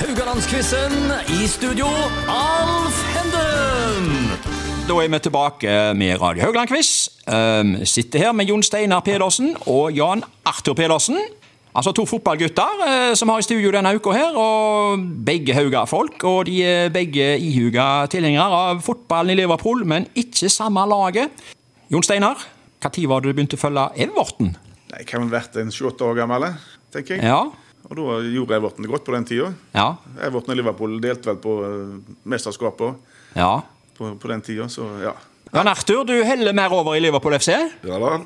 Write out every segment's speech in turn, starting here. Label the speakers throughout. Speaker 1: Rogalandsquizen i studio, Alf Henden!
Speaker 2: Da er vi tilbake med Radio Haugland-quiz. Um, sitter her med Jon Steinar Pedersen og Jan Arthur Pedersen. Altså to fotballgutter eh, som har i studio denne uka her. Og begge Hauga-folk. Og de er begge ihuga tilhengere av fotballen i Liverpool, men ikke samme laget. Jon Steinar, når var det du begynte å følge Everton?
Speaker 3: Nei, Jeg kan ha vært en 28 år gammel, eh, tenker jeg.
Speaker 2: Ja,
Speaker 3: Og da gjorde Everton det godt på den tida.
Speaker 2: ja,
Speaker 3: Everton og Liverpool delte vel på eh, mesterskapet også,
Speaker 2: ja.
Speaker 3: på, på den tida, så ja.
Speaker 2: Jan Arthur, du heller mer over i Liverpool FC.
Speaker 4: Ja da.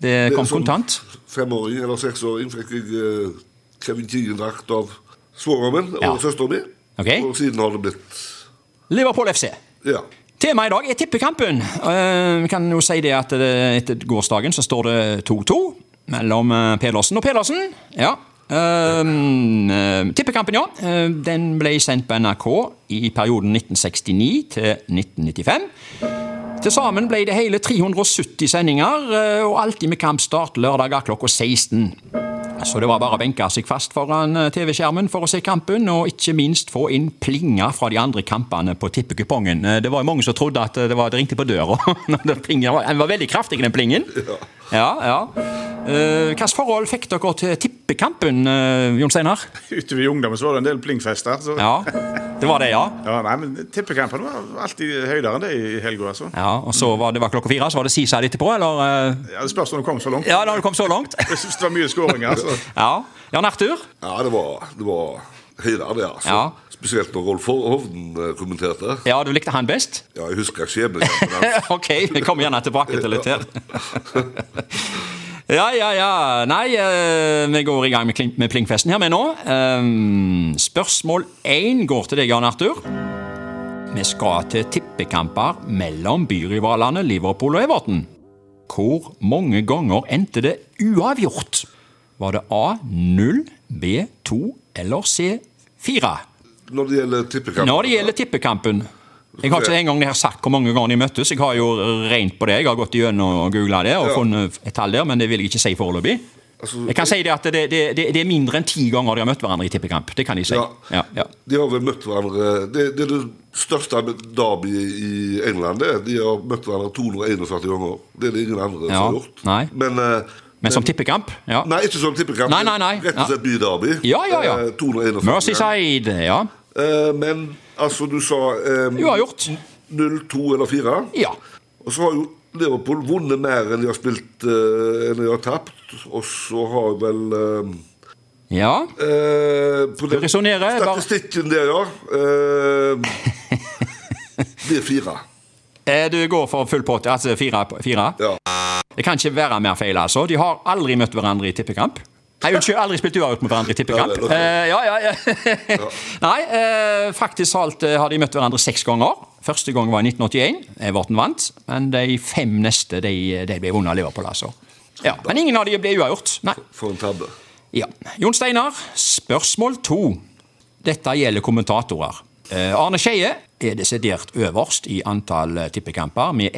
Speaker 2: Det
Speaker 4: Det er sånn-
Speaker 2: kom
Speaker 4: som
Speaker 2: kontant.
Speaker 4: Femåring eller seksåring fikk jeg eh, Kevin Keegan-drakt av svogermen og
Speaker 2: Ja.
Speaker 4: søsteren min.
Speaker 2: Ok.
Speaker 4: Og siden har det blitt
Speaker 2: Liverpool FC.
Speaker 4: Ja.
Speaker 2: Temaet i dag er tippekampen. Eh, Vi kan jo si det at eh, etter gårsdagen så står det 2-2 mellom eh, Pedersen og Pedersen. Ja. Ehm, eh, tippekampen, ja. Eh, Den ble sendt på NRK i perioden 1969 til 1995. Til sammen ble det hele 370 sendinger, eh, og alltid med kampstart lørdager klokka 16. Så det var bare å benke seg fast foran eh, TV-skjermen for å se kampen, og ikke minst få inn plinger fra de andre kampene på tippekupongen. Eh, Det var jo mange som trodde at eh, det, var, det ringte på døra. når det plingen var- Den var veldig kraftig, den plingen. Ja, ja. Eh, Hvilket forhold fikk dere til tippekampen, eh, Jon Steinar?
Speaker 3: Utover i ungdommen så var det en del plingfester. Så.
Speaker 2: Ja, det var det, ja.
Speaker 3: Ja, nei, men Tippekampen var alltid høydere enn det i helga. altså.
Speaker 2: ja og så var det var klokka fire, så var det Sisa etterpå, eller? eh?
Speaker 3: Ja, det spørs når du kom så langt.
Speaker 2: Ja, da har du kommet så langt.
Speaker 3: Jeg synes det var mye skåringer. altså. så
Speaker 2: Ja. Jan Arthur?
Speaker 4: ja, det var, det var høyder, det, altså.
Speaker 2: Ja.
Speaker 4: Spesielt når Rolf Hovden eh, kommenterte.
Speaker 2: Ja, du likte han best?
Speaker 4: Ja, jeg husker skjebnen. men- altså,
Speaker 2: ok, vi kommer gjerne tilbake til litt her. Ja, ja, ja. Nei, eh, vi går i gang med, kling, med plingfesten her med nå. Ehm, spørsmål én går til deg, Jan Arthur. Vi skal til tippekamper mellom byrivalene Liverpool og Everton. Hvor mange ganger endte det uavgjort? Var det A 0, B 2 eller C 4?
Speaker 4: Når det gjelder tippekamp
Speaker 2: Når det gjelder tippekampen Jeg har ikke engang det her sagt hvor mange ganger de møttes. Jeg har jo rent på det. Jeg har gått igjennom og googla det og
Speaker 4: Ja.
Speaker 2: funnet et tall der, men det vil jeg ikke si foreløpig.
Speaker 4: Altså,
Speaker 2: Jeg kan si det at det, det, det, det er mindre enn ti ganger de har møtt hverandre i tippekamp. Det kan jeg si.
Speaker 4: Ja.
Speaker 2: Ja, ja.
Speaker 4: De har vel møtt hverandre Det, det er det største derby i England. det. De har møtt hverandre 241 ganger. Det er det ingen andre som
Speaker 2: Ja,
Speaker 4: har gjort.
Speaker 2: nei.
Speaker 4: Men, eh,
Speaker 2: Men som tippekamp? Ja.
Speaker 4: Nei, ikke som tippekamp.
Speaker 2: Nei, nei, nei.
Speaker 4: Rett og slett byderby.
Speaker 2: Ja, ja, ja.
Speaker 4: Eh, 241 ganger.
Speaker 2: Merseyside, ja.
Speaker 4: Eh, men altså, du sa eh,
Speaker 2: Uavgjort.
Speaker 4: 0-2 eller 4.
Speaker 2: Ja.
Speaker 4: Og så har jo Liverpool vunnet mer enn de har spilt eh, enn de har tapt. Og så har vel eh,
Speaker 2: ja.
Speaker 4: eh, på den
Speaker 2: resonnerer, bare-
Speaker 4: Statistikken der, ja. Eh, det er fire.
Speaker 2: Eh, Du går for full pott, altså fire? fire.
Speaker 4: Ja.
Speaker 2: Det kan ikke være mer feil, altså. De har aldri møtt hverandre i tippekamp. Nei, unnskyld, aldri spilt uavgjort mot hverandre i tippekamp.
Speaker 4: Ja, det er det.
Speaker 2: Eh, ja, ja, ja. Nei, eh, faktisk alt eh, har de møtt hverandre seks ganger. Første gang var i 1981. Everton vant. Men de fem neste de, de ble vunnet av Liverpool, altså. Ja, men ingen av de ble uavgjort. Nei.
Speaker 4: For en tabbe.
Speaker 2: Ja. Jon Steinar, spørsmål to. Dette gjelder kommentatorer. Eh, Arne Skeie er desidert øverst i antall eh, tippekamper med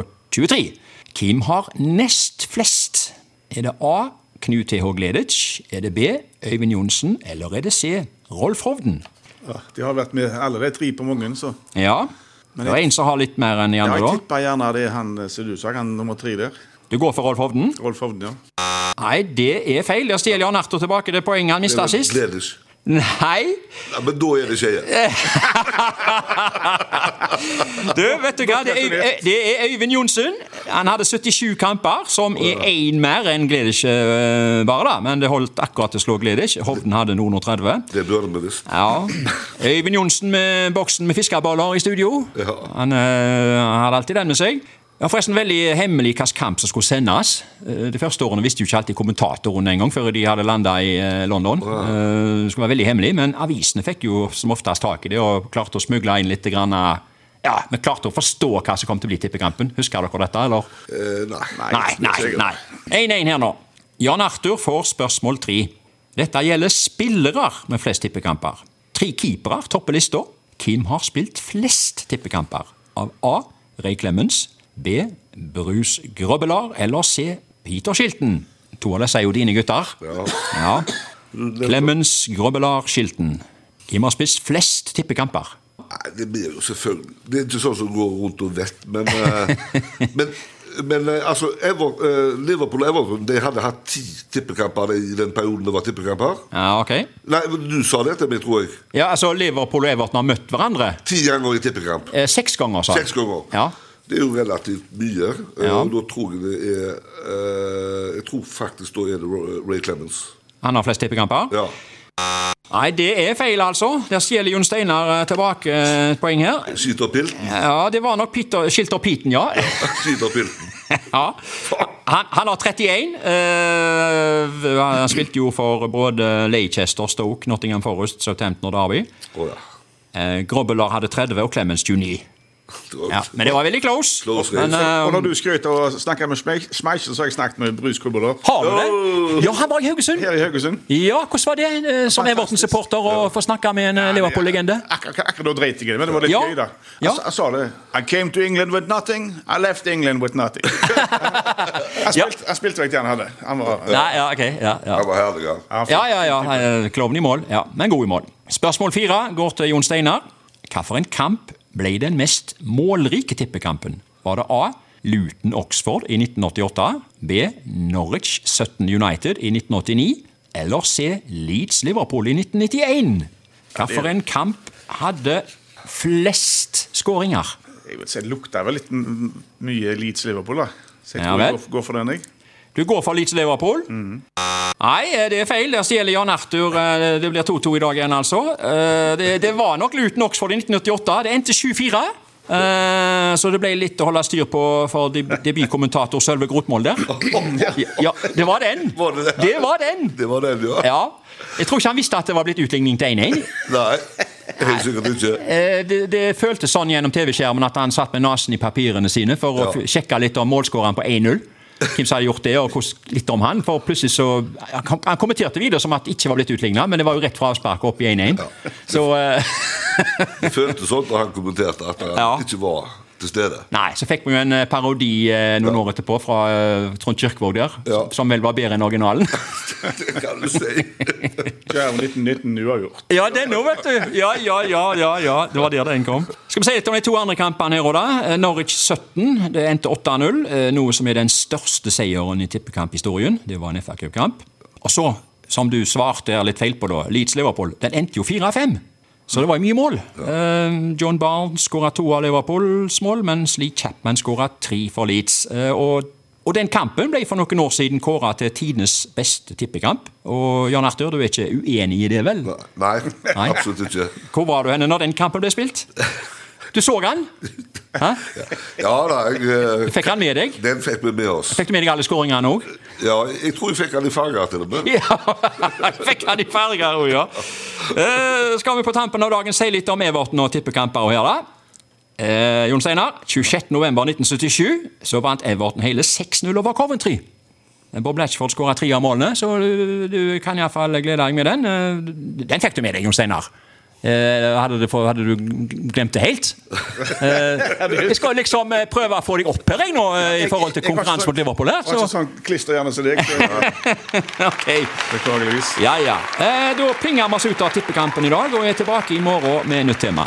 Speaker 2: 123. Hvem har nest flest? Er det A. Knut TH Gleditsch? Er det B. Øyvind Johnsen? Eller er det C. Rolf Hovden?
Speaker 3: ja, De har vært med alle de tre på mange. så...
Speaker 2: Ja, det er en som har litt mer enn de
Speaker 3: Ja,
Speaker 2: andre.
Speaker 3: jeg
Speaker 2: da.
Speaker 3: tipper gjerne det er han eh, som du sa, han nummer tre der.
Speaker 2: Du går for Rolf Hovden?
Speaker 3: Rolf Hovden, ja.
Speaker 2: Nei, det er feil. Der stjeler Jan Arthur tilbake det poenget han mista sist.
Speaker 4: Gledes.
Speaker 2: Nei,
Speaker 4: Ja, men da er det
Speaker 2: Eh.
Speaker 4: Skeie.
Speaker 2: Du, vet du hva? Det er, Øy- det er Øyvind Johnsen. Han hadde 77 kamper, som er én mer enn Gleditsch, eh, bare, da. Men det holdt akkurat til å slå Gleditsch. Hovden hadde noen og 30.
Speaker 4: Det burde vi visst.
Speaker 2: Ja. Øyvind Johnsen med boksen med fiskeballer i studio.
Speaker 4: Ja.
Speaker 2: Han eh, hadde alltid den med seg. Det var forresten veldig hemmelig hvilken kamp som skulle sendes. Eh, De første årene visste jo ikke alltid kommentatoren engang før de hadde landa i eh, London. Eh, Det skulle være veldig hemmelig, men avisene fikk jo som oftest tak i det og klarte å smugle inn litt grann, eh, Ja, vi klarte å forstå hva som kom til å bli tippekampen. Husker dere dette, eller?
Speaker 4: Eh, nei.
Speaker 2: Nei, nei, nei. 1-1 her nå. Jan Arthur får spørsmål tre. Dette gjelder spillere med flest tippekamper. Tre keepere topper lista. Hvem har spilt flest tippekamper? Av A. Ray Clemens, B. Bruce Grøbbelar eller C. Peter Shilton? To av disse er jo dine gutter.
Speaker 4: Ja.
Speaker 2: Ja. Clemens, Grøbbelar, Shilton. Vi har spist flest tippekamper.
Speaker 4: Nei, det blir jo selvfølgelig Det er ikke sånn som går rundt og vet, men eh, Men, men eh, altså, Ever, eh, Liverpool og Everton De hadde hatt ti tippekamper i den perioden det var tippekamper.
Speaker 2: Ja, ok.
Speaker 4: Nei, men du sa det til meg, tror jeg.
Speaker 2: Ja, altså, Liverpool og Everton har møtt hverandre
Speaker 4: Ti ganger i tippekamp.
Speaker 2: eh, seks ganger, sa han.
Speaker 4: Seks ganger.
Speaker 2: Ja.
Speaker 4: Det er jo relativt mye. eh,
Speaker 2: Ja.
Speaker 4: Og da tror jeg det er eh, Jeg tror faktisk da er det Ro- Ray Clemens.
Speaker 2: Han har flest tippekamper.
Speaker 4: Ja.
Speaker 2: Nei, det er feil, altså. Der stjeler Jon Steinar eh, tilbake eh, et poeng her.
Speaker 4: Skyter pilten.
Speaker 2: Ja, det var nok Peter, Shilter Peten, ja.
Speaker 4: Skyter pilten.
Speaker 2: ja. Han, han har 31. eh, han spilte jo for både Leicester, Stoke, Nottingham Forest, Southampton og Derby.
Speaker 4: Å ja.
Speaker 2: Eh, Grobbelar hadde 30 og Clemens 29.
Speaker 4: Det var-
Speaker 2: Ja, men det var veldig close.
Speaker 4: Close
Speaker 2: men,
Speaker 4: race.
Speaker 2: eh,
Speaker 3: Og når du skrøt og snakka med Schmeich- Schmeichel, så har jeg snakket med Bruce Kubbeler
Speaker 2: har du det? Ja, han var i Haugesund.
Speaker 3: her i Haugesund.
Speaker 2: Ja, hvordan var det eh, som Everton-supporter å få snakke med en eh, Liverpool-legende?
Speaker 3: Akkurat akkurat da dreit jeg i det, men det var litt
Speaker 2: Ja.
Speaker 3: gøy, da. Altså,
Speaker 2: Ja.
Speaker 3: Jeg, sa- jeg sa det. I came to England with nothing. I left England with nothing. jeg,
Speaker 2: Ja.
Speaker 3: spilte, jeg spilte vekk det han hadde. Han var,
Speaker 2: Nei, ja, ok. Ja, ja.
Speaker 4: Han var herlig, ja.
Speaker 3: han var-
Speaker 2: Ja, ja, ja. eh, Klovn i mål, ja, men god i mål. Spørsmål fire går til Jon Steinar. Hvilken kamp ble den mest målrike tippekampen? Var det A. Luton-Oxford i 1988, B. Norwich 17 United i 1989, eller C. Leeds-Liverpool i 1991? Hvilken kamp hadde flest skåringer?
Speaker 3: Jeg vil si det lukta vel litt m- mye Leeds Liverpool, da. Så jeg
Speaker 2: Ja,
Speaker 3: tror jeg
Speaker 2: vel.
Speaker 3: går, går for den, jeg.
Speaker 2: Du går for Leeds Liverpool? Nei, eh, det er feil. Der stjeler Jan Arthur. eh, Det blir 2-2 i dag igjen, altså. Eh, Det, det var nok Luton Oxford i 1988. Det endte 7-4. Eh, Så det ble litt å holde styr på for deb- debutkommentator Sølve Grotmoll der. Ja, det var den!
Speaker 4: Var det det?
Speaker 2: Det var den!
Speaker 4: Det var den, ja.
Speaker 2: Ja. Jeg tror ikke han visste at det var blitt utligning til 1-1.
Speaker 4: Nei, helt sikkert ikke.
Speaker 2: Eh, Det, det føltes sånn gjennom TV-skjermen at han satt med nesen i papirene sine for å
Speaker 4: Ja.
Speaker 2: f- sjekke litt om målskåreren på 1-0. Hvem som hadde gjort det, og hvordan- litt om han. For plutselig så Han, kom- han kommenterte videre som at det ikke var blitt utligna, men det var jo rett fra avspark opp i 1-1. Så eh,
Speaker 4: Det føltes sånn da han kommenterte at han
Speaker 2: Ja.
Speaker 4: ikke var til stede.
Speaker 2: Nei, så fikk vi jo en eh, parodi eh, noen år etterpå fra eh, Trond Kirkvaag der,
Speaker 4: Ja.
Speaker 2: som vel var bedre enn originalen.
Speaker 4: Det kan du si.
Speaker 3: Kjære 1919 uavgjort.
Speaker 2: Ja, den òg, vet du. Ja, ja, ja, ja, ja. Det var der den kom. Skal vi si litt om de to andre kampene her òg, da. Eh, Norwich 17, det endte 8-0. eh, Noe som er den største seieren i tippekamphistorien. Det var en FA Cup-kamp. Og så, som du svarte her litt feil på, da, Leeds-Liverpool. Den endte jo 4-5. Så det var jo mye mål. Eh, John Barnes skåra to av Liverpools mål, mens Lee Chapman skåra tre for Leeds. Eh, og og den kampen ble for noen år siden kåra til tidenes beste tippekamp. Og Jan Arthur, du er ikke uenig i det, vel?
Speaker 4: Nei,
Speaker 2: Nei.
Speaker 4: absolutt ikke.
Speaker 2: Hvor var du henne når den kampen ble spilt? Du så han? Hæ?
Speaker 4: Ja da, jeg, eh,
Speaker 2: Fikk han med deg?
Speaker 4: den fikk vi med oss.
Speaker 2: Fikk du med deg alle skåringene òg?
Speaker 4: Ja, jeg tror jeg fikk den i farger til og med.
Speaker 2: Ja, fikk han i farger òg, ja. Eh, skal vi på tampen av dagen si litt om Everton og tippekamper og her, da? Eh, Jon Steinar, 26.11.1977 så vant Everton hele 6-0 over Coventry. Bob Latchford skåra tre av målene, så du, du kan iallfall glede deg med den. Eh, Den fikk du med deg, Jon Steinar. Eh, hadde, du, få- hadde du glemt det helt? Eh, jeg skal liksom eh, prøve å få deg opp her jeg, nå, eh, i forhold til
Speaker 3: Jeg- jeg var ikke
Speaker 2: konkurransen mot Liverpool. her.
Speaker 3: Jeg var
Speaker 2: Så,
Speaker 3: ikke sånn klisterhjerne som deg, så-
Speaker 2: ok.
Speaker 3: beklageligvis.
Speaker 2: Ja, ja. Eh, da pinger vi oss ut av tippekampen i dag og er tilbake i morgen med nytt tema.